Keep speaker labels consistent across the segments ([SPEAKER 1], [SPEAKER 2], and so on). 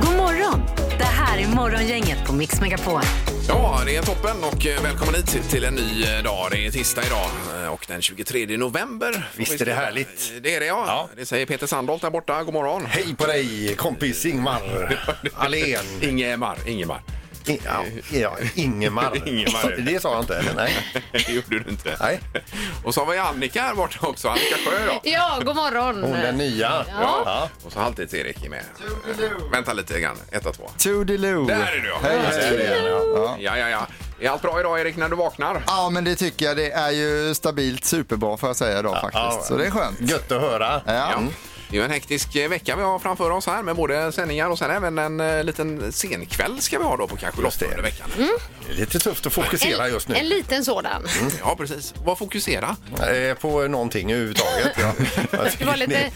[SPEAKER 1] God morgon! Det här är Morgongänget på Mix Megapol.
[SPEAKER 2] Ja, det är toppen och eh, välkommen hit till en ny eh, dag. Det är tisdag idag eh, och den 23 november.
[SPEAKER 3] Visst är det härligt.
[SPEAKER 2] Eh, Det är det ja.
[SPEAKER 3] Ja.
[SPEAKER 2] Det säger Peter Sandholt där borta. God morgon.
[SPEAKER 3] Hej på dig kompis Ingmar Allén.
[SPEAKER 2] Ingemar, Ingemar.
[SPEAKER 3] I- ja, ja, Ingemar.
[SPEAKER 2] Ingemar.
[SPEAKER 3] Det sa jag inte. Eller? Nej.
[SPEAKER 2] Det gjorde du inte.
[SPEAKER 3] Nej.
[SPEAKER 2] Och så har vi Annika här borta också. Annika Sjö då.
[SPEAKER 1] Ja, god morgon!
[SPEAKER 3] Hon den nya.
[SPEAKER 2] Ja. Och så Halvtids-Erik är med. Eh, Vänta lite grann. Ett och två.
[SPEAKER 4] Toodiloo!
[SPEAKER 2] Där är du ja.
[SPEAKER 4] Hej,
[SPEAKER 2] Där är du.
[SPEAKER 4] hej. Ja.
[SPEAKER 2] Ja, ja, ja. Är allt bra idag Erik när du vaknar?
[SPEAKER 4] ja, men det tycker jag. Det är ju stabilt superbra får jag säga idag
[SPEAKER 3] ja.
[SPEAKER 4] faktiskt. Så det är skönt.
[SPEAKER 3] Gött att höra.
[SPEAKER 4] Ja.
[SPEAKER 2] Ja. Mm. Det är ju en hektisk eh, vecka vi har framför oss här med både sändningar och sen även en eh, liten senkväll ska vi ha då på kanske
[SPEAKER 3] Just det.
[SPEAKER 2] lottan under veckan.
[SPEAKER 3] Det är lite tufft att fokusera just nu.
[SPEAKER 5] En liten sådan.
[SPEAKER 2] Ja, precis. Vad fokusera?
[SPEAKER 3] Eh, På någonting överhuvudtaget. Ja. Jag tycker
[SPEAKER 5] Det var lite-
[SPEAKER 3] det-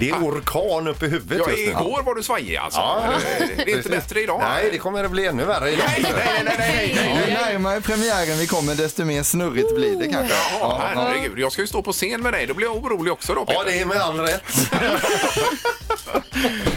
[SPEAKER 3] Det är orkan uppe i huvudet
[SPEAKER 2] Ja,
[SPEAKER 3] just nu.
[SPEAKER 2] igår var du svajig alltså.
[SPEAKER 3] Ja.
[SPEAKER 2] Eh, Det är inte bättre idag.
[SPEAKER 3] Nej, det kommer att bli ännu värre idag.
[SPEAKER 2] nej, nej, nej, nej, nej.
[SPEAKER 4] Ju närmare premiären vi kommer desto mer snurrigt blir det kanske.
[SPEAKER 2] Ja, herregud. Jag ska ju stå på scen med dig. Då blir jag orolig också då,
[SPEAKER 3] Ja,
[SPEAKER 2] Peter.
[SPEAKER 3] det är med all rätt.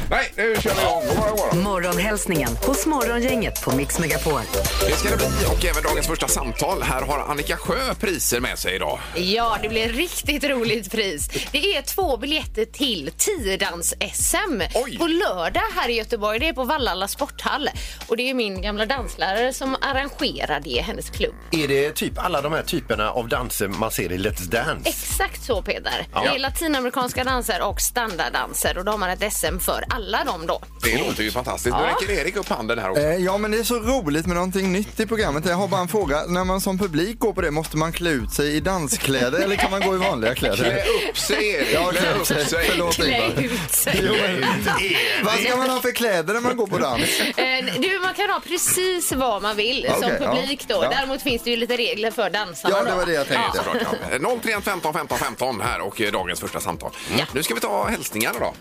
[SPEAKER 2] Nej, nu kör vi igång. God morgon, god morgon.
[SPEAKER 1] Morgonhälsningen hos Morgongänget på Mix Megapol.
[SPEAKER 2] Det ska det bli. Och även dagens första samtal. Här har Annika Sjö priser med sig idag.
[SPEAKER 5] Ja, det blir riktigt roligt pris. Det är två biljetter till Tidans-SM
[SPEAKER 2] Oj.
[SPEAKER 5] på lördag här i Göteborg. Det är på Vallala sporthall. Och det är min gamla danslärare som arrangerar det, hennes klubb.
[SPEAKER 3] Är det typ alla de här typerna av danser man ser i Let's Dance?
[SPEAKER 5] Exakt så Peter. Det är latinamerikanska danser och standarddanser och då har man ett SM för alla dem då.
[SPEAKER 2] Det låter ju fantastiskt. Nu räcker Erik upp handen här också.
[SPEAKER 4] Eh, Ja men det är så roligt med någonting nytt i programmet. Jag har bara en fråga. När man som publik går på det, måste man klä ut sig i danskläder eller kan man gå i vanliga
[SPEAKER 2] Klä
[SPEAKER 4] kläder?
[SPEAKER 2] upp sig, Erik.
[SPEAKER 4] Ja,
[SPEAKER 2] Klä upp sig.
[SPEAKER 4] Förlåt
[SPEAKER 5] Klä
[SPEAKER 4] Ingvar.
[SPEAKER 5] ut sig.
[SPEAKER 4] Vad ska man ha för kläder när man går på dans?
[SPEAKER 5] Eh, Du, man kan ha precis vad man vill
[SPEAKER 4] Okej,
[SPEAKER 5] som
[SPEAKER 4] ja.
[SPEAKER 5] publik då.
[SPEAKER 4] Ja.
[SPEAKER 5] Däremot finns det ju lite regler för dansarna
[SPEAKER 4] Ja det
[SPEAKER 5] då.
[SPEAKER 4] var det jag tänkte.
[SPEAKER 2] Såklart, ja. 031 15 15 15 här och eh, dagens första samtal. Nu ska vi ta hälsningar då.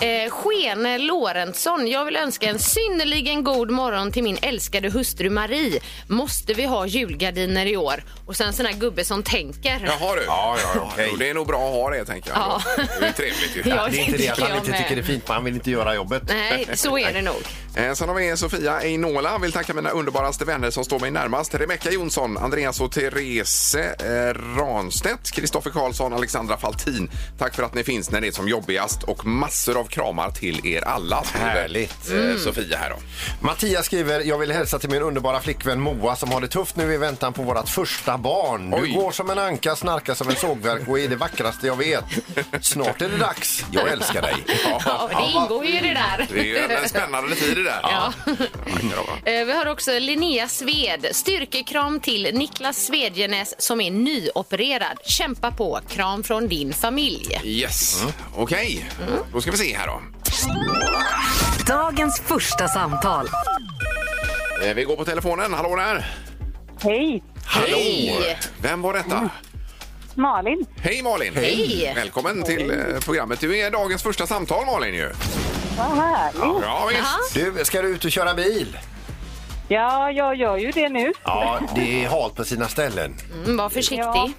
[SPEAKER 5] Eh, Skene Lorentzon, jag vill önska en synnerligen god morgon till min älskade hustru Marie. Måste vi ha julgardiner i år? Och sen sån här gubbe som tänker.
[SPEAKER 2] Jaha du. Ja, ja, ja. Jo, Det är nog bra att ha det tänker jag.
[SPEAKER 5] Ja.
[SPEAKER 2] Det är ju trevligt ju.
[SPEAKER 5] Ja.
[SPEAKER 3] Det är inte det att
[SPEAKER 5] tycker
[SPEAKER 3] han
[SPEAKER 5] jag
[SPEAKER 3] inte
[SPEAKER 5] med.
[SPEAKER 3] tycker det är fint, men han vill inte göra jobbet.
[SPEAKER 5] Nej, så är det nog.
[SPEAKER 2] Eh, Sen har vi Sofia Einola. Vill tacka mina underbaraste vänner som står mig närmast. Rebecka Jonsson, Andreas och Therese eh, Ranstedt, Kristoffer Karlsson, Alexandra Faltin. Tack för att ni finns när det är som jobbigast och massor av kramar till er alla. skriver,
[SPEAKER 3] Härligt.
[SPEAKER 2] eh, Sofia här då.
[SPEAKER 3] Mattias skriver, jag vill hälsa till min underbara flickvän Moa som har det tufft nu i väntan på vårt första barn. Du
[SPEAKER 2] Oj.
[SPEAKER 3] går som en anka, snarkar som en sågverk och är det vackraste jag vet. Snart är det dags. Jag älskar dig.
[SPEAKER 5] Ja, det ingår ju i det där.
[SPEAKER 2] Det är ju en spännande tid det där.
[SPEAKER 5] Ja.
[SPEAKER 2] Tackar då.
[SPEAKER 5] Eh, Vi har också Linnea Sved. Styrkekram till Niklas Svedjenäs som är nyopererad. Kämpa på. Kram från din familj.
[SPEAKER 2] Yes,
[SPEAKER 5] Mm.
[SPEAKER 2] okej. Då ska vi se här då.
[SPEAKER 1] Dagens första samtal.
[SPEAKER 2] Eh, Vi går på telefonen. Hallå där!
[SPEAKER 6] Hej, Mm.
[SPEAKER 2] Hallå! Vem var detta?
[SPEAKER 6] Malin.
[SPEAKER 2] Hej Malin!
[SPEAKER 5] Hej.
[SPEAKER 2] Välkommen till eh, programmet. Du är dagens första samtal Malin ju.
[SPEAKER 6] Vad härligt.
[SPEAKER 2] Ja, visst.
[SPEAKER 3] Du, ska du ut och köra bil?
[SPEAKER 6] Ja, jag gör ju det nu.
[SPEAKER 3] Ja, det är halt på sina ställen.
[SPEAKER 5] Mm, var försiktig.
[SPEAKER 6] Ja.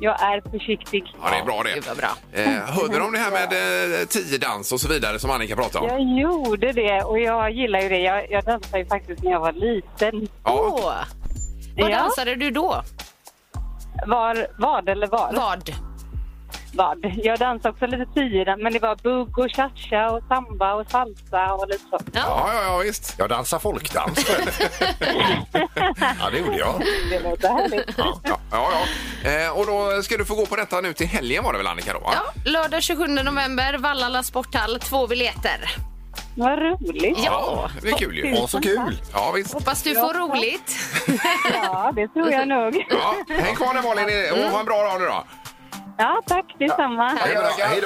[SPEAKER 6] Jag är försiktig.
[SPEAKER 2] Ja, det är bra det.
[SPEAKER 5] Det var bra.
[SPEAKER 2] Eh, hörde du om det här med eh, tiodans och så vidare som Annika pratade om?
[SPEAKER 6] Jag gjorde det och jag gillar ju det. Jag, jag dansade ju faktiskt när jag var liten.
[SPEAKER 2] Ja.
[SPEAKER 5] Åh. Vad
[SPEAKER 6] Ja.
[SPEAKER 5] dansade du då?
[SPEAKER 6] Var, vad eller var?
[SPEAKER 5] Vad?
[SPEAKER 6] Vad. Jag dansade också lite tidigare, men det var bugg och cha-cha och samba och salsa och lite så.
[SPEAKER 2] Ja, ja, ja, visst.
[SPEAKER 3] Jag dansar folkdans själv. Ja, det gjorde jag.
[SPEAKER 6] Det låter härligt.
[SPEAKER 2] Ja, ja, ja. Eh, och då ska du få gå på detta nu till helgen var det väl Annika då? va?
[SPEAKER 5] Ja, lördag 27 november, Vallala sporthall, två biljetter.
[SPEAKER 6] Vad roligt.
[SPEAKER 2] ja. Det är kul ju.
[SPEAKER 3] Ja, så kul.
[SPEAKER 2] Ja, visst.
[SPEAKER 5] Hoppas du får roligt.
[SPEAKER 6] Ja, det tror jag nog.
[SPEAKER 2] Ja, häng kvar där Malin och ha en bra dag nu då.
[SPEAKER 6] Ja, tack detsamma.
[SPEAKER 3] Det är bra. Hej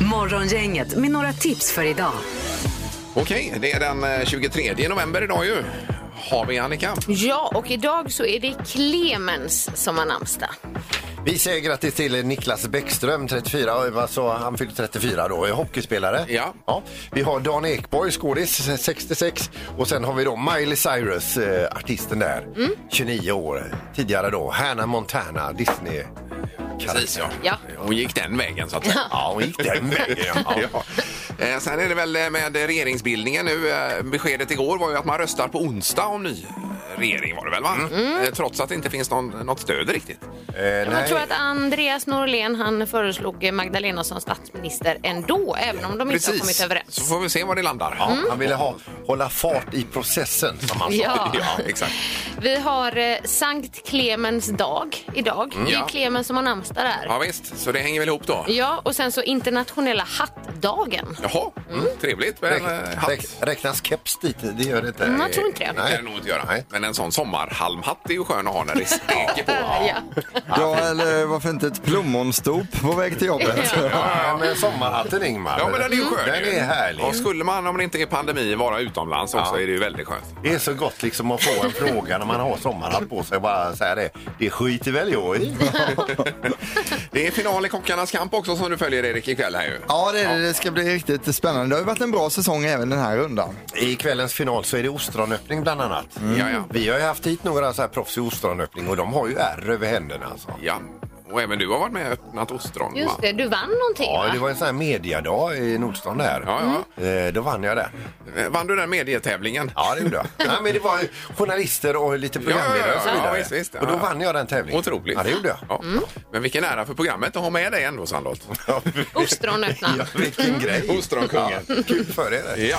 [SPEAKER 3] då.
[SPEAKER 1] Morgongänget med några tips för idag.
[SPEAKER 2] Okej, det är den eh, 23 november idag ju. Har vi Annika?
[SPEAKER 5] Ja, och idag så är det Clemens som har namnsdag.
[SPEAKER 3] Vi säger grattis till Niklas Bäckström, 34, alltså han fyllde 34 då, är hockeyspelare.
[SPEAKER 2] Ja.
[SPEAKER 3] Vi har Dan Ekborg, skådis, 66. Och sen har vi då Miley Cyrus, eh, artisten där,
[SPEAKER 5] Mm.
[SPEAKER 3] 29 år. Tidigare då, Hannah Montana, Disney.
[SPEAKER 2] Precis, ja.
[SPEAKER 5] Ja.
[SPEAKER 2] Hon gick den vägen, så att säga.
[SPEAKER 3] Ja, hon gick den vägen. ja.
[SPEAKER 2] Ja. Eh, Sen är det väl eh, med regeringsbildningen nu. Eh, Beskedet igår var ju att man röstar på onsdag om ny eh, regering var det väl va?
[SPEAKER 5] Mm.
[SPEAKER 2] Eh, Trots att det inte finns någon, något stöd riktigt.
[SPEAKER 3] Eh,
[SPEAKER 5] Jag
[SPEAKER 3] nej.
[SPEAKER 5] tror att Andreas Norlén han föreslog Magdalena som statsminister ändå, även om de inte har kommit
[SPEAKER 2] Så
[SPEAKER 5] överens.
[SPEAKER 2] får vi se var det landar. Ja,
[SPEAKER 5] Mm.
[SPEAKER 3] Han ville ha, hålla fart i processen, som han sa.
[SPEAKER 5] Ja.
[SPEAKER 2] Alltså, exakt.
[SPEAKER 5] Vi har eh, Sankt Clemens dag idag. Det är
[SPEAKER 2] Ja.
[SPEAKER 5] ju Clemens som har namnsdag där.
[SPEAKER 2] Ja, visst, så det hänger väl ihop då.
[SPEAKER 5] Ja, och sen så internationella hattdagen.
[SPEAKER 2] Jaha, mm,
[SPEAKER 3] Mm.
[SPEAKER 2] trevligt med en eh,
[SPEAKER 3] Räk, räk,
[SPEAKER 2] hatt.
[SPEAKER 3] räknas keps dit? Det gör det inte.
[SPEAKER 5] Mm, jag tror inte det.
[SPEAKER 2] Det
[SPEAKER 3] Nej.
[SPEAKER 2] kan det nog inte göra.
[SPEAKER 3] Nej.
[SPEAKER 2] Men en sån sommarhalmhatt är ju skön att ha när det steker på.
[SPEAKER 5] Ja.
[SPEAKER 4] Ja, eller varför inte ett plommonstop på väg till jobbet?
[SPEAKER 3] Ja, men sommarhatten Ingmar.
[SPEAKER 2] Ja, men den är ju skön.
[SPEAKER 3] Den
[SPEAKER 2] ju.
[SPEAKER 3] är härlig.
[SPEAKER 2] Och skulle man, om det inte är pandemi, vara utomlands också
[SPEAKER 3] Ja.
[SPEAKER 2] är det ju väldigt skönt.
[SPEAKER 3] Det är så gott liksom att få en fråga när man har sommarhatt på sig. Bara säga det. Det skiter väl jag i.
[SPEAKER 2] Det är final i Kockarnas kamp också som du följer Erik ikväll här ju.
[SPEAKER 4] Ja, det, är det. det ska bli riktigt spännande. Det har ju varit en bra säsong även den här rundan.
[SPEAKER 3] I kvällens final så är det ostronöppning bland annat.
[SPEAKER 2] Mm. Ja, ja.
[SPEAKER 3] Vi har ju haft hit några så här proffs i ostronöppning och de har ju ärr över händerna. Alltså.
[SPEAKER 2] Ja, och även du har varit med och öppnat ostron. va?
[SPEAKER 5] Just det, du vann någonting
[SPEAKER 3] Ja,
[SPEAKER 5] va?
[SPEAKER 3] det var en sån här mediadag i Nordstan där.
[SPEAKER 2] Ja,
[SPEAKER 3] Eh, Då vann jag den.
[SPEAKER 2] Eh, Vann du den medietävlingen?
[SPEAKER 3] Mm. Ja, det gjorde jag. Nej, men det var ju journalister och lite programledare och så
[SPEAKER 2] Ja, ja, ja,
[SPEAKER 3] vidare.
[SPEAKER 2] ja, visst, visst.
[SPEAKER 3] och då
[SPEAKER 2] Ja.
[SPEAKER 3] vann jag den tävlingen.
[SPEAKER 2] Otroligt.
[SPEAKER 3] Ja, det gjorde jag. Mm.
[SPEAKER 2] Ja. Men vilken ära för programmet att ha med dig ändå, Sandholt.
[SPEAKER 5] Ostronöppnaren.
[SPEAKER 3] Ja, vilken grej.
[SPEAKER 2] Ostronkungen.
[SPEAKER 3] Ja, kul för er.
[SPEAKER 2] Ja,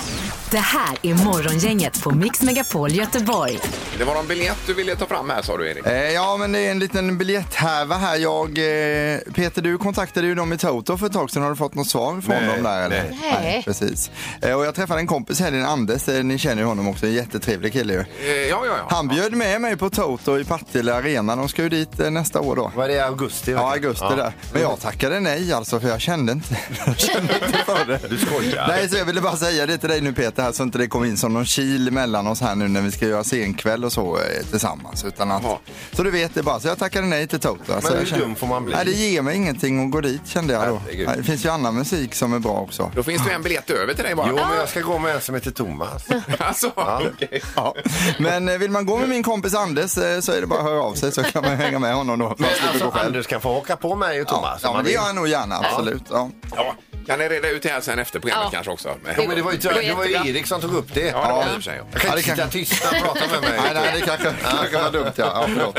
[SPEAKER 1] Det här är Morgongänget på Mix Megapol Göteborg.
[SPEAKER 2] det var en biljett du ville ta fram här sa du Erik.
[SPEAKER 4] Eh, ja, men det är en liten biljetthärva här. Jag, eh, Peter, du kontaktade ju dem i Toto för ett tag sedan. Har du fått något svar från dem där? Eller?
[SPEAKER 3] nej.
[SPEAKER 5] Nej.
[SPEAKER 4] Precis. Eh, och jag träffade en kompis här, Anders. Eh, ni känner ju honom också. En jättetrevlig kille ju.
[SPEAKER 2] Eh, Ja, ja, ja.
[SPEAKER 4] Han bjöd med mig på Toto i Partille Arena. De ska ju dit eh, nästa år då.
[SPEAKER 3] Var det i augusti?
[SPEAKER 4] Ja, augusti där. Men jag tackade nej alltså, för jag kände inte, jag kände inte för det.
[SPEAKER 3] Du skojar.
[SPEAKER 4] Nej, så jag ville bara säga det till dig nu Peter, här, så inte det kommer in som någon kil mellan oss här nu när vi ska göra senkväll och så eh, tillsammans. Utan att,
[SPEAKER 2] Jaha.
[SPEAKER 4] så du vet det bara. Så jag tackade nej till Toto. Alltså,
[SPEAKER 3] Men
[SPEAKER 4] jag
[SPEAKER 3] hur dum får man bli?
[SPEAKER 4] Nej, det ger mig ingenting att gå dit kände jag då.
[SPEAKER 3] Herregud.
[SPEAKER 4] Nej, Det finns ju annan musik som är bra också.
[SPEAKER 2] Då finns det en biljett över till dig bara.
[SPEAKER 3] Jo, men jag ska gå med en som heter Thomas.
[SPEAKER 2] Alltså, okej.
[SPEAKER 4] Ja. Men eh, vill man gå med min kompis Anders eh, så är det bara att höra av sig så kan man hänga med honom då.
[SPEAKER 3] Men alltså, Anders kan få haka på mig och
[SPEAKER 4] Ja,
[SPEAKER 3] Thomas. om
[SPEAKER 4] ja, men
[SPEAKER 3] han
[SPEAKER 4] det
[SPEAKER 3] vill.
[SPEAKER 4] gör jag nog gärna, absolut. Ja.
[SPEAKER 2] Ja, kan ni reda ut det här sen efter programmet
[SPEAKER 5] Ja.
[SPEAKER 2] kanske också? Men-
[SPEAKER 3] Jo, men det var ju,
[SPEAKER 5] Det var
[SPEAKER 3] det var ju
[SPEAKER 5] jättebra.
[SPEAKER 3] Erik som tog upp det.
[SPEAKER 2] Ja, det var det i och
[SPEAKER 3] Jag
[SPEAKER 2] för sig. ja.
[SPEAKER 3] kan
[SPEAKER 4] Ja, det
[SPEAKER 3] inte sitta
[SPEAKER 4] kanske-
[SPEAKER 3] tyst och prata med mig.
[SPEAKER 4] Nej, nej, det kanske, kanske var dumt. Ja. Ja, förlåt.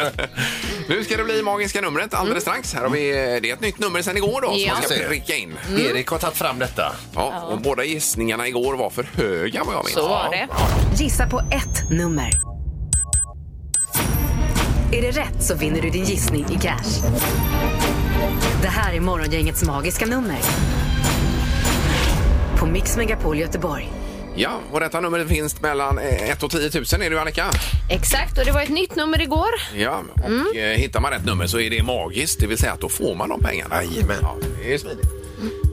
[SPEAKER 2] Nu ska det bli magiska numret alldeles strax. Här har vi, eh, det är ett nytt nummer sen igår då som
[SPEAKER 5] Mm. Ja. Mm.
[SPEAKER 2] man ska
[SPEAKER 3] Ser.
[SPEAKER 2] pricka in.
[SPEAKER 3] Erik har tagit fram detta.
[SPEAKER 2] Ja, och båda gissningarna igår var för höga vad jag minns.
[SPEAKER 5] Så var det.
[SPEAKER 1] Gissa på ett nummer. Är det rätt så vinner du din gissning i cash. Det här är Morgongängets magiska nummer. På Mix Megapol Göteborg.
[SPEAKER 2] Ja, och detta numret finns mellan 1 och 10 000 är det ju Annika.
[SPEAKER 5] Exakt, och det var ett nytt nummer igår.
[SPEAKER 2] Ja, och eh, hittar man rätt nummer så är det magiskt, det vill säga att då får man de pengarna. Jajamän. Mm. Ja, det är smidigt.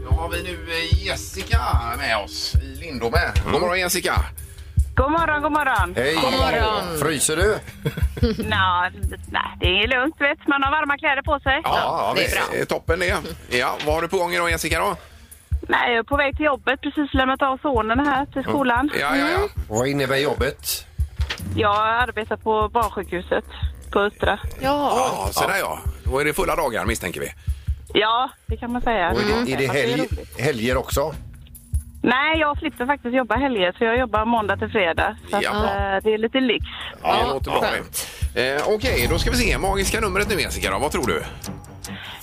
[SPEAKER 2] Då har vi nu eh, Jessica med oss i Lindome. God morgon Jessica!
[SPEAKER 6] God morgon, god morgon.
[SPEAKER 3] Hej! God
[SPEAKER 5] morgon.
[SPEAKER 3] Fryser du?
[SPEAKER 6] Nå, nej, det är lugnt. Vet. Man har varma kläder på sig.
[SPEAKER 2] Ja,
[SPEAKER 5] det är
[SPEAKER 2] visst.
[SPEAKER 5] bra.
[SPEAKER 2] Eh, Toppen det. Ja, vad har du på gång idag Jessica då?
[SPEAKER 6] Nej, jag är på väg till jobbet. Precis lämnat av sonen här till skolan.
[SPEAKER 2] Ja, ja, ja.
[SPEAKER 3] Vad innebär jobbet?
[SPEAKER 6] Jag arbetar på barnsjukhuset på Östra.
[SPEAKER 5] Ja.
[SPEAKER 2] ja så där ja. Då är det fulla dagar misstänker vi.
[SPEAKER 6] Ja, det kan man säga.
[SPEAKER 3] Och är det, är
[SPEAKER 6] Fast Mm. det
[SPEAKER 3] det
[SPEAKER 6] är
[SPEAKER 3] helg,
[SPEAKER 6] roligt.
[SPEAKER 3] helger också?
[SPEAKER 6] Nej, jag slipper faktiskt jobba helger, så jag jobbar måndag till fredag. Så att,
[SPEAKER 2] Jaha.
[SPEAKER 6] eh, det är lite lyx.
[SPEAKER 2] Ja,
[SPEAKER 5] Ja, skönt.
[SPEAKER 2] Eh, Okej, då ska vi se. Magiska numret nu Jessica då. Vad tror du?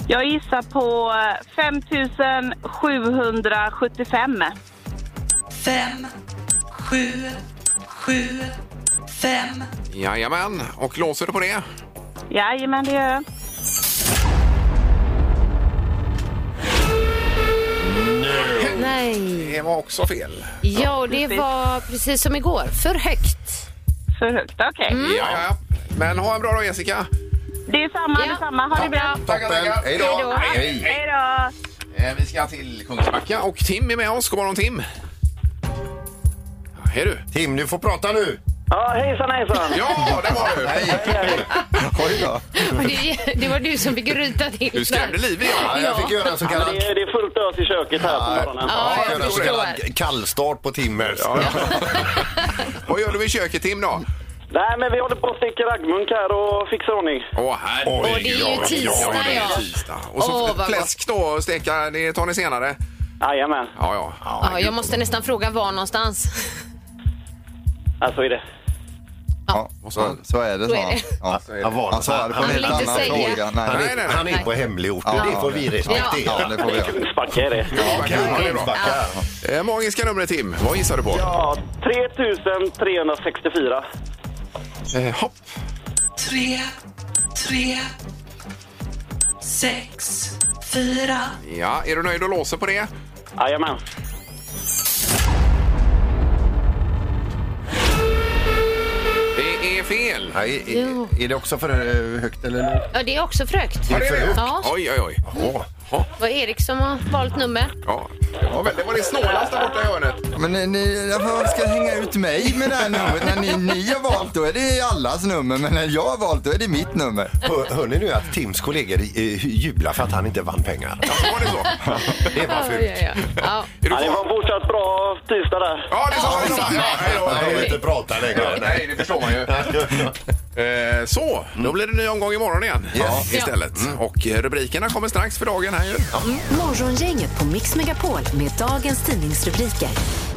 [SPEAKER 6] Jag gissar på eh, 5775.
[SPEAKER 2] Jajamän, och låser du på det?
[SPEAKER 6] Jajamän, det gör jag.
[SPEAKER 5] Nej.
[SPEAKER 2] Det var också fel.
[SPEAKER 5] Ja, och det var precis som igår. För högt.
[SPEAKER 6] För högt, okej.
[SPEAKER 2] Ja, ja, ja. Men ha en bra dag Jessica.
[SPEAKER 6] Det är samma,
[SPEAKER 5] Ja.
[SPEAKER 6] det är samma. Ha det bra.
[SPEAKER 2] Tackar, tackar.
[SPEAKER 3] Hej
[SPEAKER 5] Hej
[SPEAKER 3] då!
[SPEAKER 5] då.
[SPEAKER 3] Hej!
[SPEAKER 6] Hej då!
[SPEAKER 2] Eh, Vi ska till Kungsbacka och Tim är med oss. God morgon Tim! Är du?
[SPEAKER 3] Tim, du får prata nu.
[SPEAKER 7] Ja, hejsan hejsan.
[SPEAKER 2] Ja, det var du!
[SPEAKER 4] Oj då.
[SPEAKER 5] Och det, det var du som fick ryta till.
[SPEAKER 2] Du skrämde liv i honom.
[SPEAKER 3] Ja, jag fick göra en så
[SPEAKER 7] Ja,
[SPEAKER 3] kallad...
[SPEAKER 7] men det, är, det är fullt ös i köket här på morgonen.
[SPEAKER 5] Ja,
[SPEAKER 3] jag
[SPEAKER 5] jag
[SPEAKER 3] fick göra en så
[SPEAKER 5] förstår.
[SPEAKER 3] kallad kallstart på Timmers.
[SPEAKER 2] Vad gör du i köket, Tim, då?
[SPEAKER 7] Nej, men vi håller på att steka raggmunk här och fixar ordning.
[SPEAKER 2] Åh, herregud.
[SPEAKER 3] Oj, Och
[SPEAKER 5] det är ju
[SPEAKER 2] Ja,
[SPEAKER 5] tisdag,
[SPEAKER 2] det är
[SPEAKER 5] ja.
[SPEAKER 2] tisdag. Och så
[SPEAKER 5] Åh, vad gott.
[SPEAKER 2] fläsk då och steka, det tar ni senare?
[SPEAKER 7] Jajamän,
[SPEAKER 2] Ja, ja.
[SPEAKER 5] Ja, jag måste nästan fråga var någonstans.
[SPEAKER 7] ja, så är det.
[SPEAKER 4] Ja, så, så är det,
[SPEAKER 5] Så
[SPEAKER 4] sa
[SPEAKER 5] är
[SPEAKER 4] han.
[SPEAKER 5] det.
[SPEAKER 4] Ja.
[SPEAKER 3] Han
[SPEAKER 4] Han
[SPEAKER 3] varnar.
[SPEAKER 4] svarade på
[SPEAKER 3] Han,
[SPEAKER 4] en helt
[SPEAKER 5] vill inte
[SPEAKER 4] annan
[SPEAKER 5] säga.
[SPEAKER 4] fråga.
[SPEAKER 3] han,
[SPEAKER 4] Nej.
[SPEAKER 2] Nej, nej,
[SPEAKER 3] är,
[SPEAKER 2] nej.
[SPEAKER 3] han är på hemlig ort.
[SPEAKER 4] Ja.
[SPEAKER 3] det får vi respektera.
[SPEAKER 4] Ja, det får vi göra.
[SPEAKER 7] Kungsbacka är det.
[SPEAKER 2] Ja, det är bra.
[SPEAKER 3] Kungsbacka.
[SPEAKER 2] Eh, Magiska numret, Tim. Vad gissar du på?
[SPEAKER 7] Ja, 3364.
[SPEAKER 2] Eh, hopp.
[SPEAKER 8] Tre, tre, sex, fyra.
[SPEAKER 2] Ja, är du nöjd och låser på det?
[SPEAKER 7] Jajamän.
[SPEAKER 2] Det är fel.
[SPEAKER 3] Nej, är, är det också för eh, högt eller lågt?
[SPEAKER 5] Ja, det är också frökt.
[SPEAKER 2] Ja, det är det.
[SPEAKER 5] Ja.
[SPEAKER 2] Oj, oj, oj.
[SPEAKER 3] Åh,
[SPEAKER 5] Det var Erik som har valt nummer.
[SPEAKER 2] Ja. Ja, men det var det snålaste borta i hörnet. Alltså,
[SPEAKER 4] Men ni- ni, varför ska ni hänga ut mig med det här numret? När ni, ni har valt då är det allas nummer, men när jag har valt då är det mitt nummer.
[SPEAKER 3] hör, hör ni nu att Tims kollegor eh, jublar för att han inte vann pengar?
[SPEAKER 2] Alltså, var det så?
[SPEAKER 3] Det var
[SPEAKER 5] Ja,
[SPEAKER 3] fult.
[SPEAKER 5] ja, ja. Ja.
[SPEAKER 2] Är du
[SPEAKER 7] Ja, det var en
[SPEAKER 2] kvar?
[SPEAKER 7] fortsatt bra tisdag där.
[SPEAKER 2] Ja, det sa du. Ja, hej då,
[SPEAKER 3] Han
[SPEAKER 2] hej då.
[SPEAKER 3] vill inte prata längre.
[SPEAKER 2] Nej, det förstår man ju. Eh, Så, då blir det en ny omgång imorgon igen
[SPEAKER 3] Yes.
[SPEAKER 2] istället. Och eh, rubrikerna kommer strax för dagen här ju.
[SPEAKER 1] Morgongänget på Mix Megapol med dagens tidningsrubriker.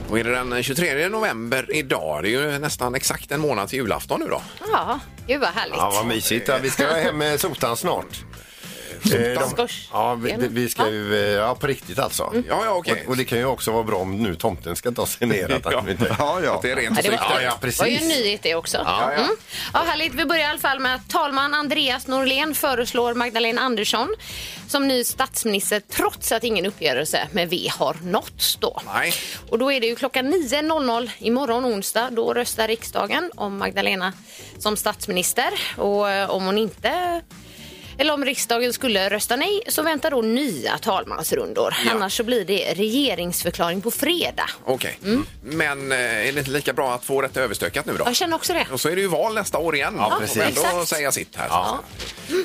[SPEAKER 2] Och är det den 23 november idag? Det är ju nästan exakt en månad till julafton nu då.
[SPEAKER 5] ja, gud vad härligt.
[SPEAKER 3] Ja, vad mysigt. Ja, vi ska hem med sotan snart. Eh, de-
[SPEAKER 5] Skors.
[SPEAKER 3] Ja, vi, vi- vi ska ju... eh, Ja, på riktigt alltså.
[SPEAKER 2] Ja, ja, okej.
[SPEAKER 3] Och, och det kan ju också vara bra om nu tomten ska ta sig ner. Att han inte...
[SPEAKER 4] Ja, ja.
[SPEAKER 2] Att det är rent
[SPEAKER 5] Ja,
[SPEAKER 2] och
[SPEAKER 5] det var,
[SPEAKER 2] snyggt.
[SPEAKER 5] ja,
[SPEAKER 3] Ja, ja, precis.
[SPEAKER 5] var ju en nyhet det också.
[SPEAKER 2] Ja, ja.
[SPEAKER 5] Mm. Ja, härligt. Vi börjar i alla fall med att talman Andreas Norlén föreslår Magdalena Andersson som ny statsminister trots att ingen uppgörelse med V har nåtts då.
[SPEAKER 2] Nej.
[SPEAKER 5] Och då är det ju klockan 9.00 imorgon onsdag. Då röstar riksdagen om Magdalena som statsminister och eh, om hon inte eller om riksdagen skulle rösta nej så väntar då nya talmansrundor. Annars så blir det regeringsförklaring på fredag.
[SPEAKER 2] Okej. Men eh, är det inte lika bra att få detta överstökat nu då?
[SPEAKER 5] Jag känner också det.
[SPEAKER 2] Och så är det ju val nästa år igen. Ja,
[SPEAKER 5] precis.
[SPEAKER 2] Ändå
[SPEAKER 5] exakt.
[SPEAKER 2] säga sitt här.
[SPEAKER 5] Ja.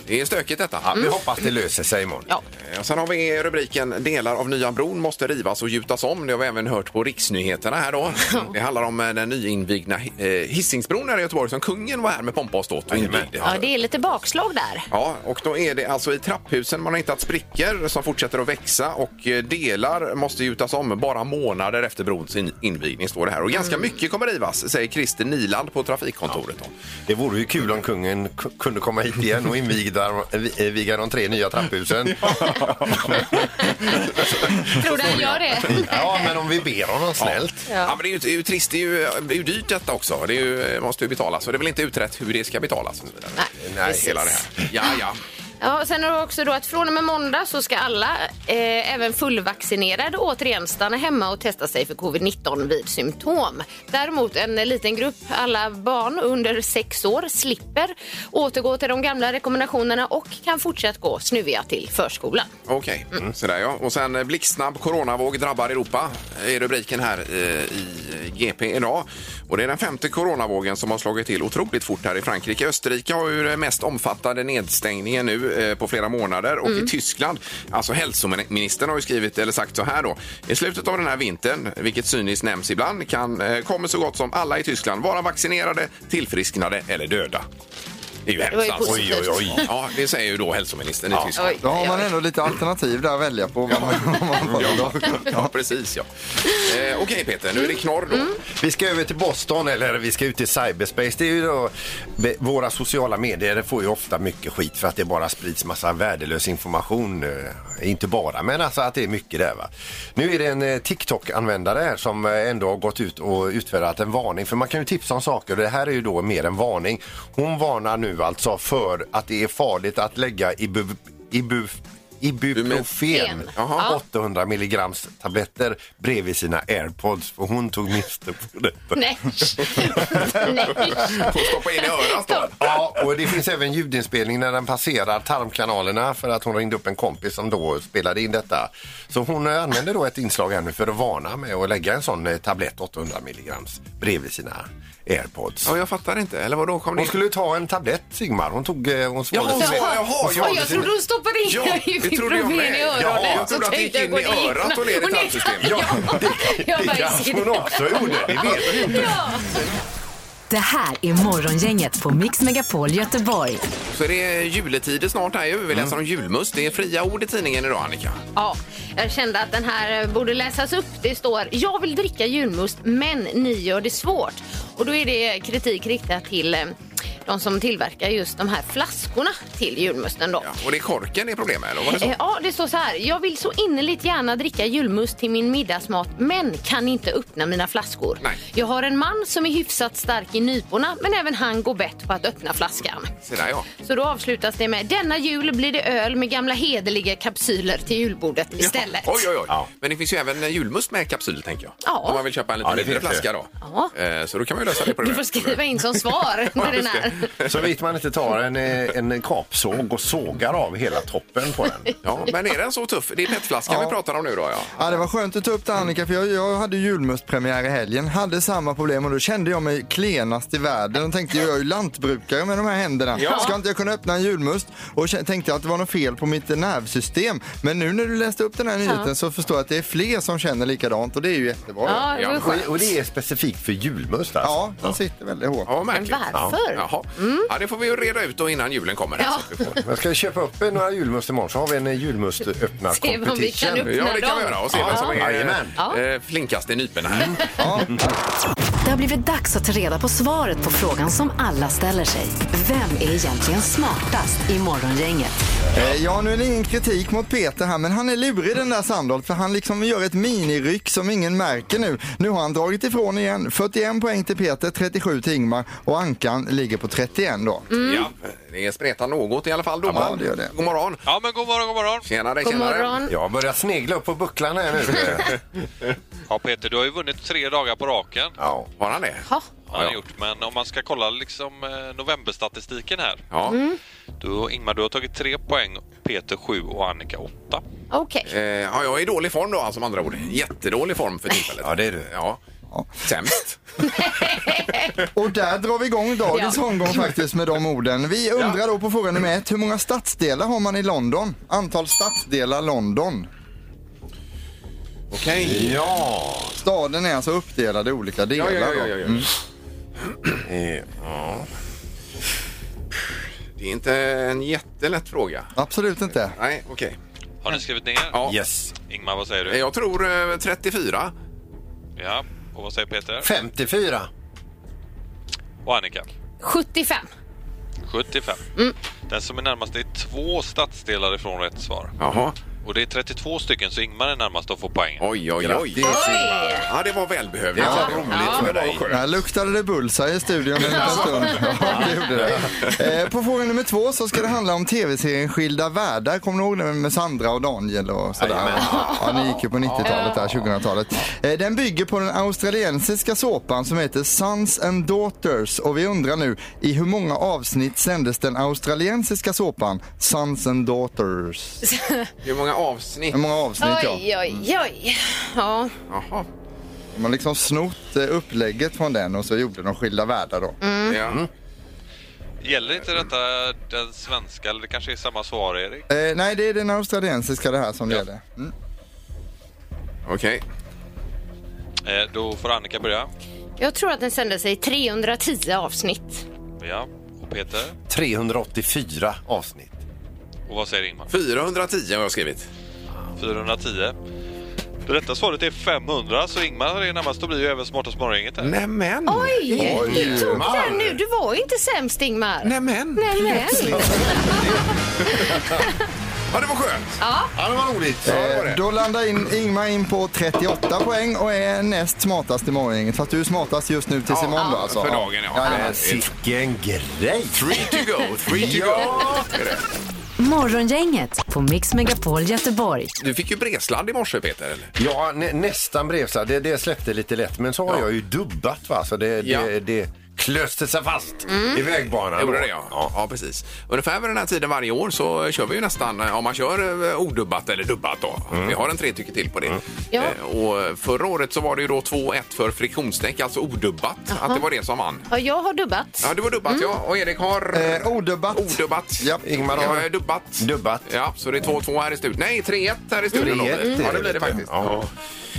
[SPEAKER 2] Det är stökigt detta.
[SPEAKER 3] Vi hoppas det löser sig imorgon.
[SPEAKER 5] Ja.
[SPEAKER 2] Eh, Och sen har vi rubriken Delar av Nya bron måste rivas och gjutas om. Det har vi även hört på riksnyheterna här då. Det handlar om eh, den nyinvigda eh, Hisingsbron här i Göteborg som kungen var här med pompa och ståt och invigde.
[SPEAKER 5] Ja, det är lite bakslag där.
[SPEAKER 2] Ja, och då är det alltså i trapphusen man har hittat sprickor som fortsätter att växa och eh, delar måste gjutas om bara månader efter brons in- invigning står det här. Och ganska
[SPEAKER 5] Mm.
[SPEAKER 2] mycket kommer rivas, säger Christer Niland på trafikkontoret. Då.
[SPEAKER 3] Det vore ju kul om kungen k- kunde komma hit igen och inviga eh, viga de tre nya trapphusen.
[SPEAKER 5] Tror du han gör det?
[SPEAKER 3] Ja, men om vi ber honom snällt.
[SPEAKER 2] Ja. men det är ju, det är ju trist, det är ju, det är ju dyrt detta också. Det är ju, måste ju betalas och det är väl inte utrett hur det ska betalas. Och så vidare.
[SPEAKER 3] Nej,
[SPEAKER 5] precis.
[SPEAKER 2] Hela det här. Ja, ja.
[SPEAKER 5] Ja, sen har du också då att från och med måndag så ska alla, eh, även fullvaccinerade, återigen stanna hemma och testa sig för covid-19 vid symptom. Däremot en eh, liten grupp, alla barn under sex år, slipper återgå till de gamla rekommendationerna och kan fortsatt gå snuviga till förskolan.
[SPEAKER 2] Okej,
[SPEAKER 5] Mm.
[SPEAKER 2] sådär ja. Och sen eh, blixtsnabb coronavåg drabbar Europa är rubriken här eh, i GP idag. Och det är den femte coronavågen som har slagit till otroligt fort här i Frankrike. Österrike har ju den mest omfattande nedstängningen nu eh, på flera månader och
[SPEAKER 5] Mm.
[SPEAKER 2] i Tyskland, alltså hälsoministern har ju skrivit eller sagt så här då. I slutet av den här vintern, vilket cyniskt nämns ibland, kan, eh, kommer så gott som alla i Tyskland vara vaccinerade, tillfrisknade eller döda. Det är ju
[SPEAKER 5] var ju
[SPEAKER 2] hemskt alltså.
[SPEAKER 5] positivt.
[SPEAKER 2] Ja, det säger ju då hälsoministern i Tyskland.
[SPEAKER 5] Oj,
[SPEAKER 4] Då har
[SPEAKER 5] oj,
[SPEAKER 4] man
[SPEAKER 5] oj.
[SPEAKER 4] ändå lite alternativ där att välja på. Vad man, vad man får då.
[SPEAKER 2] Ja, precis ja. Eh, Okej Peter, nu är det knorr då.
[SPEAKER 5] Mm.
[SPEAKER 3] Vi ska över till Boston, eller vi ska ut i cyberspace. Det är ju då, be- våra sociala medier får ju ofta mycket skit för att det bara sprids massa värdelös information. eh, Inte bara, men alltså att det är mycket där. Va? Nu är det en eh, TikTok-användare här som eh, ändå har gått ut och utfärdat en varning. För man kan ju tipsa om saker och det här är ju då mer en varning. Hon varnar nu alltså för att det är farligt att lägga ibu... ibu Ibuprofen.
[SPEAKER 5] En.
[SPEAKER 2] Jaha.
[SPEAKER 3] 800 milligrams tabletter bredvid sina airpods. För hon tog miste på detta.
[SPEAKER 5] Nej. Nej.
[SPEAKER 2] Får stoppa in i örat då.
[SPEAKER 3] Ja, och det finns även ljudinspelning när den passerar tarmkanalerna för att hon ringde upp en kompis som då spelade in detta. Så hon eh, använde då ett inslag här nu för att varna med att lägga en sån eh, tablett 800 milligrams bredvid sina airpods.
[SPEAKER 2] Ja, jag fattar inte. Eller vadå? Kom ni...
[SPEAKER 3] Hon skulle ta en tablett Sigmar, hon tog... eh, Hon
[SPEAKER 2] Jaha,
[SPEAKER 3] svalde sin-
[SPEAKER 2] jaha, jaha,
[SPEAKER 3] hon
[SPEAKER 2] Ja,
[SPEAKER 5] Och
[SPEAKER 3] svalde
[SPEAKER 5] jag
[SPEAKER 3] sin-
[SPEAKER 5] trodde hon stoppade in
[SPEAKER 2] Ja, det trodde jag
[SPEAKER 5] ibuprofen
[SPEAKER 2] med.
[SPEAKER 5] i
[SPEAKER 2] Ja,
[SPEAKER 5] öronen.
[SPEAKER 2] jag trodde
[SPEAKER 5] Så
[SPEAKER 2] att det
[SPEAKER 5] tänkte
[SPEAKER 2] gick in
[SPEAKER 5] jag,
[SPEAKER 2] i
[SPEAKER 5] går det
[SPEAKER 2] örat och ner i
[SPEAKER 5] in? nej,
[SPEAKER 2] tarmsystemet.
[SPEAKER 5] Ja, jag
[SPEAKER 3] Det
[SPEAKER 5] bara,
[SPEAKER 2] alltså
[SPEAKER 3] kanske hon också gjorde, det vet vi inte.
[SPEAKER 1] Det här är Morgongänget på Mix Megapol Göteborg.
[SPEAKER 2] Så är det juletider snart här ju. Vi
[SPEAKER 3] Mm.
[SPEAKER 2] läser om julmust. Det är fria ord i tidningen idag, Annika.
[SPEAKER 5] Ja, jag kände att den här borde läsas upp. Det står “Jag vill dricka julmust, men ni gör det svårt”. Och då är det kritik riktad till eh, de som tillverkar just de här flaskorna till julmusten då.
[SPEAKER 2] Ja, och det är korken det är problem med, eller var det så?
[SPEAKER 5] Eh, Ja, det står så här. Jag vill så innerligt gärna dricka julmust till min middagsmat men kan inte öppna mina flaskor.
[SPEAKER 2] Nej.
[SPEAKER 5] Jag har en man som är hyfsat stark i nyporna men även han går bett på att öppna flaskan.
[SPEAKER 2] Se där, ja.
[SPEAKER 5] Så då avslutas det med denna jul blir det öl med gamla hederliga kapsyler till julbordet istället.
[SPEAKER 2] Ja, oj, oj, oj.
[SPEAKER 3] Ja.
[SPEAKER 2] Men det finns ju även eh, julmust med kapsyl, tänker jag.
[SPEAKER 5] Ja.
[SPEAKER 2] Om man vill köpa en lite
[SPEAKER 3] Ja, det
[SPEAKER 2] mindre
[SPEAKER 3] finns det.
[SPEAKER 2] flaska då.
[SPEAKER 5] Ja.
[SPEAKER 2] Eh, Så då kan man ju lösa det på det
[SPEAKER 5] Du får skriva in som svar när den är.
[SPEAKER 3] Så vitt man inte tar en, eh, en kapsåg och sågar av hela toppen på den.
[SPEAKER 2] Ja, men är den så tuff? Det är petflaskan vi pratar om nu då, ja.
[SPEAKER 4] Ja, det var skönt att ta upp det Annika, för jag, jag hade julmustpremiär i helgen, hade samma problem och då kände jag mig klenast i världen och tänkte jag är ju lantbrukare med de här händerna.
[SPEAKER 2] Ja.
[SPEAKER 4] Ska inte jag kunna öppna en julmust? Och kä- tänkte att det var något fel på mitt nervsystem. Men nu när du läste upp den här nyheten så förstår jag att det är fler som känner likadant och det är ju jättebra.
[SPEAKER 5] Ja, det var
[SPEAKER 2] Ja.
[SPEAKER 5] skönt.
[SPEAKER 3] Och, och det är specifikt för julmust alltså.
[SPEAKER 4] Ja, den sitter väldigt hårt.
[SPEAKER 2] Ja, märkligt.
[SPEAKER 5] Men varför?
[SPEAKER 2] Ja. Jaha. Ja, det får vi ju reda ut då innan julen kommer.
[SPEAKER 5] Ja.
[SPEAKER 2] Så att vi får-
[SPEAKER 3] Jag ska köpa upp eh, några julmust imorgon så har vi en eh, julmustöppnarkompetition.
[SPEAKER 5] Se vad vi kan upp-
[SPEAKER 2] Ja, det kan
[SPEAKER 5] Öppna
[SPEAKER 2] vi
[SPEAKER 5] dem.
[SPEAKER 2] göra och se vem som är
[SPEAKER 3] Jajamän.
[SPEAKER 5] Ja. Mm.
[SPEAKER 2] eh, flinkast i nyporna här. Mm.
[SPEAKER 1] Det har blivit dags att ta reda på svaret på frågan som alla ställer sig. Vem är egentligen smartast i Morgongänget?
[SPEAKER 4] Eh, Ja, nu är det ingen kritik mot Peter här, men han är lurig den där Sandholt för han liksom gör ett miniryck som ingen märker nu. Nu har han dragit ifrån igen. 41 poäng till Peter, 37 till Ingmar och Ankan ligger på 31 då.
[SPEAKER 2] Ja,
[SPEAKER 5] Mm.
[SPEAKER 2] det spretar något i alla fall, domaren.
[SPEAKER 4] Ja, det gör det.
[SPEAKER 2] God morgon!
[SPEAKER 7] Ja, men god morgon, god morgon.
[SPEAKER 2] Tjenare,
[SPEAKER 5] God
[SPEAKER 2] tjenare.
[SPEAKER 5] morgon.
[SPEAKER 3] Jag börjar snegla upp på bucklan här nu.
[SPEAKER 7] Ja, Peter, du har ju vunnit tre dagar på raken.
[SPEAKER 3] ja.
[SPEAKER 2] Har han det?
[SPEAKER 5] Ja.
[SPEAKER 7] Har jag gjort. Men om man ska kolla liksom eh, novemberstatistiken här.
[SPEAKER 2] Ja.
[SPEAKER 5] Mm.
[SPEAKER 7] Du, Ingmar, du har tagit tre poäng, Peter sju och Annika åtta.
[SPEAKER 5] Okej.
[SPEAKER 2] Eh, ja, jag är i dålig form då, alltså, med andra ord. Jättedålig form för tillfället.
[SPEAKER 3] ja, det är du.
[SPEAKER 2] Ja. Sämst.
[SPEAKER 4] Och där drar vi igång dagens
[SPEAKER 5] Ja.
[SPEAKER 4] omgång faktiskt med de orden. Vi undrar då på fråga nummer ett, hur många stadsdelar har man i London? Antal stadsdelar London.
[SPEAKER 2] Okej.
[SPEAKER 3] Ja.
[SPEAKER 4] Staden är alltså uppdelad i olika delar.
[SPEAKER 2] Ja, ja, ja,
[SPEAKER 4] då.
[SPEAKER 2] ja, ja.
[SPEAKER 4] Mm.
[SPEAKER 3] Eh, ja.
[SPEAKER 2] Det är inte en jättelätt fråga.
[SPEAKER 4] Absolut inte.
[SPEAKER 2] Nej, okej.
[SPEAKER 7] Har ni skrivit ner?
[SPEAKER 2] Ja.
[SPEAKER 3] Yes.
[SPEAKER 7] Ingmar, vad säger
[SPEAKER 2] Eh,
[SPEAKER 7] du?
[SPEAKER 2] Jag tror eh, 34.
[SPEAKER 7] Ja. Och vad säger Peter?
[SPEAKER 3] 54.
[SPEAKER 7] Och Annika?
[SPEAKER 5] 75.
[SPEAKER 7] 75.
[SPEAKER 5] Mm.
[SPEAKER 7] Den som är närmast är två stadsdelar ifrån rätt svar.
[SPEAKER 2] Jaha.
[SPEAKER 7] Och det är 32 stycken, så Ingmar är närmast att få poäng.
[SPEAKER 2] Oj, oj, oj.
[SPEAKER 3] Grattis, Ingmar.
[SPEAKER 2] Ja, det var välbehövligt.
[SPEAKER 3] Det var roligt för dig.
[SPEAKER 4] Där luktade det bullseye i studion en liten stund. Ja, det gjorde det. Eh, på fråga nummer två så ska det handla om tv-serien Skilda världar. Kommer ni ihåg den med Sandra och Daniel och sådär?
[SPEAKER 3] Jajamän.
[SPEAKER 4] Ja, ni gick ju på 90-talet där, 2000-talet. Eh, den bygger på den australiensiska såpan som heter Sons and Daughters och vi undrar nu i hur många avsnitt sändes den australiensiska såpan Sons and Daughters?
[SPEAKER 2] Hur många
[SPEAKER 4] Hur
[SPEAKER 2] avsnitt?
[SPEAKER 3] Mm.
[SPEAKER 4] många avsnitt ja?
[SPEAKER 5] Oj, oj, oj. Ja.
[SPEAKER 2] Jaha.
[SPEAKER 4] De har liksom snott eh, upplägget från den och så gjorde de Skilda världar då.
[SPEAKER 3] Mm.
[SPEAKER 2] Ja.
[SPEAKER 7] Gäller inte detta den svenska, eller det kanske är samma svar, Erik?
[SPEAKER 4] Eh, nej, det är den australiensiska det här som gäller. Mm.
[SPEAKER 2] Okej.
[SPEAKER 7] Eh, då får Annika börja.
[SPEAKER 5] Jag tror att den sände sig i 310 avsnitt.
[SPEAKER 7] Ja. Och Peter?
[SPEAKER 3] 384 avsnitt.
[SPEAKER 7] Och vad säger Ingmar?
[SPEAKER 2] 410 har jag skrivit.
[SPEAKER 7] 410. Det rätta svaret är 500, så Ingmar är närmast och blir ju även smartast morgongänget här.
[SPEAKER 2] Nämen!
[SPEAKER 5] Oj! Du tog
[SPEAKER 3] Ingmar.
[SPEAKER 5] den nu. Du var ju inte sämst, Ingmar.
[SPEAKER 2] Nämen!
[SPEAKER 5] Nej, men.
[SPEAKER 2] Ja, det var skönt.
[SPEAKER 3] Ja, det var roligt. Ja, det
[SPEAKER 4] Eh,
[SPEAKER 3] var det.
[SPEAKER 4] då landar in, Ingmar in på 38 poäng och är näst smartast i morgongänget. Fast du är smartast just nu tills imorgon då alltså.
[SPEAKER 2] För dagen, ja.
[SPEAKER 3] Men sicken Äh, grej!
[SPEAKER 2] Three to go, three to go.
[SPEAKER 3] Ja!
[SPEAKER 1] Morgongänget på Mix Megapol Göteborg.
[SPEAKER 2] Du fick ju Bresland i morse, Peter. Eller?
[SPEAKER 3] Ja, nä, nästan brevsa. Det, det släppte lite lätt. Men så har
[SPEAKER 2] Ja.
[SPEAKER 3] jag ju dubbat va. Så det,
[SPEAKER 2] Ja. Mm.
[SPEAKER 3] det, det klöste sig fast i vägbanan.
[SPEAKER 2] Gjorde
[SPEAKER 3] då.
[SPEAKER 2] det, ja. ja. Ja, precis. Ungefär vid den här tiden varje år så kör vi ju nästan, eh, om man kör eh, odubbat eller dubbat då.
[SPEAKER 3] Mm.
[SPEAKER 2] Vi har en tre tycker till på det.
[SPEAKER 5] Ja.
[SPEAKER 2] Eh, Och förra året så var det ju då 2-1 för friktionsdäck, alltså odubbat. Att det var det som vann.
[SPEAKER 5] Ja, jag har dubbat.
[SPEAKER 2] Ja, det var dubbat ja. Och Erik har...
[SPEAKER 4] Eh, odubbat.
[SPEAKER 2] Odubbat.
[SPEAKER 4] Ja,
[SPEAKER 3] Ingmar har-
[SPEAKER 2] har... Dubbat.
[SPEAKER 3] Dubbat.
[SPEAKER 2] Ja, så det är 2-2 här i studion. Nej, 3-1 här i studion.
[SPEAKER 3] 3-1
[SPEAKER 2] låter det. Ja, det blir
[SPEAKER 3] är
[SPEAKER 2] det
[SPEAKER 3] det.
[SPEAKER 2] faktiskt.
[SPEAKER 3] Ja.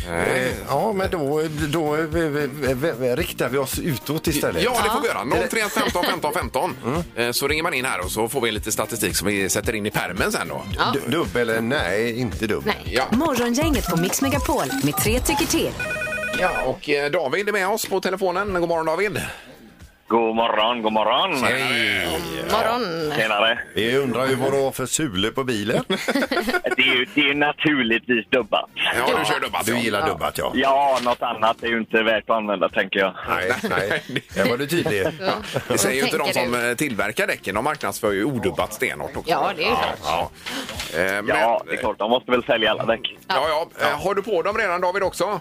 [SPEAKER 3] Eh, Ja, men då, då eh, eh, eh, riktar vi oss utåt istället.
[SPEAKER 2] Ja, det får vi göra. 031 15 15 15.
[SPEAKER 3] Mm.
[SPEAKER 2] Eh, Så ringer man in här och så får vi lite statistik som vi sätter in i pärmen sen då.
[SPEAKER 3] Du- Dubbel? eh, Nej, inte dubbel.
[SPEAKER 5] Nej.
[SPEAKER 2] Ja,
[SPEAKER 1] Morgongänget på Mix Megapol med tre tycker till.
[SPEAKER 2] ja och eh, David är med oss på telefonen. God morgon David.
[SPEAKER 9] God morgon, god morgon.
[SPEAKER 3] Nej.
[SPEAKER 5] Morgon.
[SPEAKER 9] Tjenare.
[SPEAKER 3] Vi undrar ju vad du har för sule på bilen.
[SPEAKER 9] Det är ju det är ju naturligtvis dubbat.
[SPEAKER 2] Ja, du kör dubbat.
[SPEAKER 3] Du
[SPEAKER 2] ja.
[SPEAKER 3] gillar dubbat, ja.
[SPEAKER 9] Ja, något annat är ju inte värt att använda, tänker jag.
[SPEAKER 3] Nej, nej. Där var du tydlig.
[SPEAKER 2] Det säger ju inte de
[SPEAKER 5] Tänker
[SPEAKER 2] som
[SPEAKER 5] du?
[SPEAKER 2] eh, tillverkar däcken. De marknadsför ju odubbat stenhårt också.
[SPEAKER 5] Ja, det är ju klart.
[SPEAKER 2] Ja, ja. Eh, Men,
[SPEAKER 9] Ja, det är klart, de måste väl sälja alla däck.
[SPEAKER 2] Ja, ja. Eh, Har du på dem redan David också?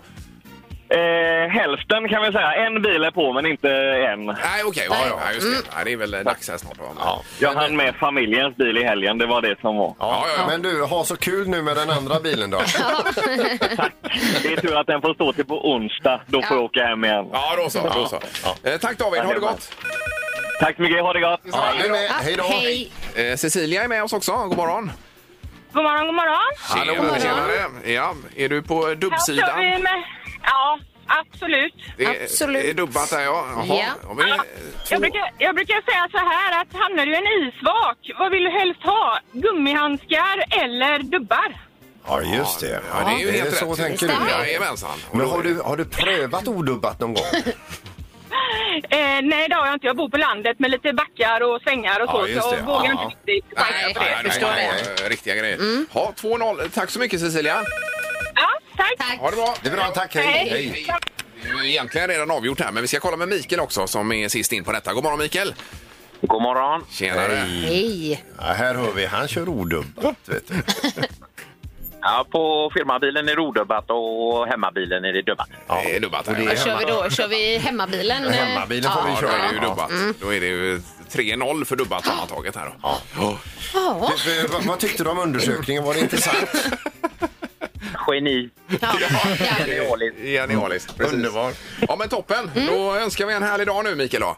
[SPEAKER 9] Eh, hälften kan vi säga. En bil är på, men inte en.
[SPEAKER 2] Nej, okej. Ja, ja, just
[SPEAKER 5] Mm.
[SPEAKER 2] det. Ja, det är väl eh, dags här snart. va?
[SPEAKER 3] Ja.
[SPEAKER 9] Jag hann med familjens bil i helgen, det var det som var.
[SPEAKER 3] Ja, Men du, ha så kul nu med den andra bilen då.
[SPEAKER 9] Det är tur att den får stå till på onsdag, då får jag åka hem igen.
[SPEAKER 2] Ja, då så. Då så. Eh, Tack David, ha det gott.
[SPEAKER 9] Tack så mycket, ha det gott!
[SPEAKER 3] Ja, du med.
[SPEAKER 5] Ja,
[SPEAKER 3] Hej då.
[SPEAKER 5] Hej.
[SPEAKER 2] Eh, Cecilia är med oss också. God morgon.
[SPEAKER 6] God morgon, god morgon.
[SPEAKER 2] Hallå, tjenare. Ja, är du på
[SPEAKER 6] Här kör
[SPEAKER 2] dubbsidan?
[SPEAKER 6] vi med... Ja, absolut.
[SPEAKER 2] Det är-
[SPEAKER 5] Absolut.
[SPEAKER 2] Det är dubbat där, ja. Jaha.
[SPEAKER 5] Ja.
[SPEAKER 2] Ja, men, eh, två-
[SPEAKER 6] Jag brukar, jag brukar säga så här att hamnar du i en isvak, vad vill du helst ha? Gummihandskar eller dubbar?
[SPEAKER 3] Ja, just det.
[SPEAKER 2] Ja, det är ju helt rätt.
[SPEAKER 3] Så tänker du.
[SPEAKER 5] stämmer.
[SPEAKER 3] ja.
[SPEAKER 2] Jajamensan.
[SPEAKER 3] Men har du, har du prövat odubbat någon gång?
[SPEAKER 6] Eh, nej, det har jag inte. Jag bor på landet med lite backar och svängar och
[SPEAKER 3] Ja,
[SPEAKER 6] så.
[SPEAKER 3] just
[SPEAKER 6] Så
[SPEAKER 3] det.
[SPEAKER 6] jag vågar
[SPEAKER 3] Ja,
[SPEAKER 6] inte riktigt
[SPEAKER 2] Nej,
[SPEAKER 6] chansa på det.
[SPEAKER 2] nej,
[SPEAKER 5] förstår Mm.
[SPEAKER 2] nej, nej, Riktiga grejer. Ja, 2-0. Tack så mycket, Cecilia.
[SPEAKER 6] Ja, tack.
[SPEAKER 5] Tack.
[SPEAKER 2] Ha det bra.
[SPEAKER 3] Det är bra, tack. Hej.
[SPEAKER 6] Hej.
[SPEAKER 3] Hej.
[SPEAKER 2] Det är ju egentligen redan avgjort här, men vi ska kolla med Mikael också som är sist in på detta. God morgon Mikael!
[SPEAKER 9] God morgon!
[SPEAKER 2] Tjenare!
[SPEAKER 5] Hej.
[SPEAKER 3] Ja, här hör vi, han kör odubbat. Vet du.
[SPEAKER 9] Ja, på firmabilen är det odubbat och hemmabilen är det dubbat.
[SPEAKER 3] Ja.
[SPEAKER 2] Det är dubbat här.
[SPEAKER 3] Och det är
[SPEAKER 5] Vad kör vi då? Kör vi hemmabilen?
[SPEAKER 3] Hemmabilen får vi
[SPEAKER 2] Ja, då
[SPEAKER 3] köra.
[SPEAKER 2] är det ju dubbat.
[SPEAKER 5] Mm.
[SPEAKER 2] Då är det ju 3-0 för dubbat sammantaget här då. Ja.
[SPEAKER 5] Ja.
[SPEAKER 3] Du, eh, vad, vad tyckte du om undersökningen? Var det intressant?
[SPEAKER 9] Geni!
[SPEAKER 5] Ja. Ja.
[SPEAKER 9] Genialiskt.
[SPEAKER 2] Genialiskt. precis.
[SPEAKER 3] Underbar.
[SPEAKER 2] Ja men toppen!
[SPEAKER 5] Mm.
[SPEAKER 2] Då önskar vi en härlig dag nu Mikael då.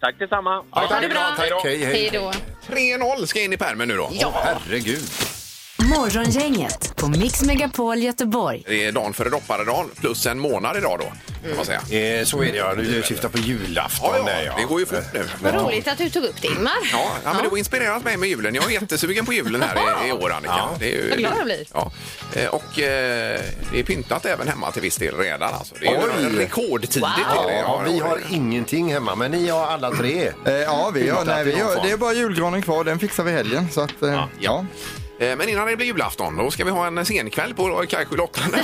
[SPEAKER 9] Tack detsamma!
[SPEAKER 5] Ha det bra.
[SPEAKER 3] Tack. Hej,
[SPEAKER 5] Hej
[SPEAKER 3] hej.
[SPEAKER 5] då.
[SPEAKER 2] 3-0 ska in i pärmen nu då.
[SPEAKER 3] Herregud.
[SPEAKER 1] Morgongänget på Mix Megapol Göteborg.
[SPEAKER 2] Det är dagen före dopparedagen plus en månad idag då. Kan man säga.
[SPEAKER 3] Eh, så är det ja. Du syftar på julafton.
[SPEAKER 2] Ja,
[SPEAKER 3] där,
[SPEAKER 2] ja, det går ju fort nu.
[SPEAKER 5] Vad roligt att du tog upp det, Ingmar.
[SPEAKER 2] Ja, ja, men det har inspirerat mig med julen. Jag är jättesugen på julen här i, i år, Annika.
[SPEAKER 3] Ja.
[SPEAKER 2] Det är ju,
[SPEAKER 5] Vad glad jag blir.
[SPEAKER 2] Ja. Eh, Och eh, det är pyntat även hemma till viss del redan. Alltså. Det är ju
[SPEAKER 3] Oj.
[SPEAKER 2] rekordtidigt. är
[SPEAKER 3] Ja,
[SPEAKER 2] det.
[SPEAKER 3] ja, vi har ingenting hemma, men ni har alla tre.
[SPEAKER 4] Eh, ja, vi gör,
[SPEAKER 3] Inte
[SPEAKER 4] nej,
[SPEAKER 3] att det
[SPEAKER 4] vi
[SPEAKER 3] är någon
[SPEAKER 4] gör,
[SPEAKER 3] fara.
[SPEAKER 4] det är bara julgranen kvar. Den fixar vi i helgen. Så att, eh, ja.
[SPEAKER 2] ja. Eh, Men innan det blir julafton, då ska vi ha en senkväll på Kajskylottan.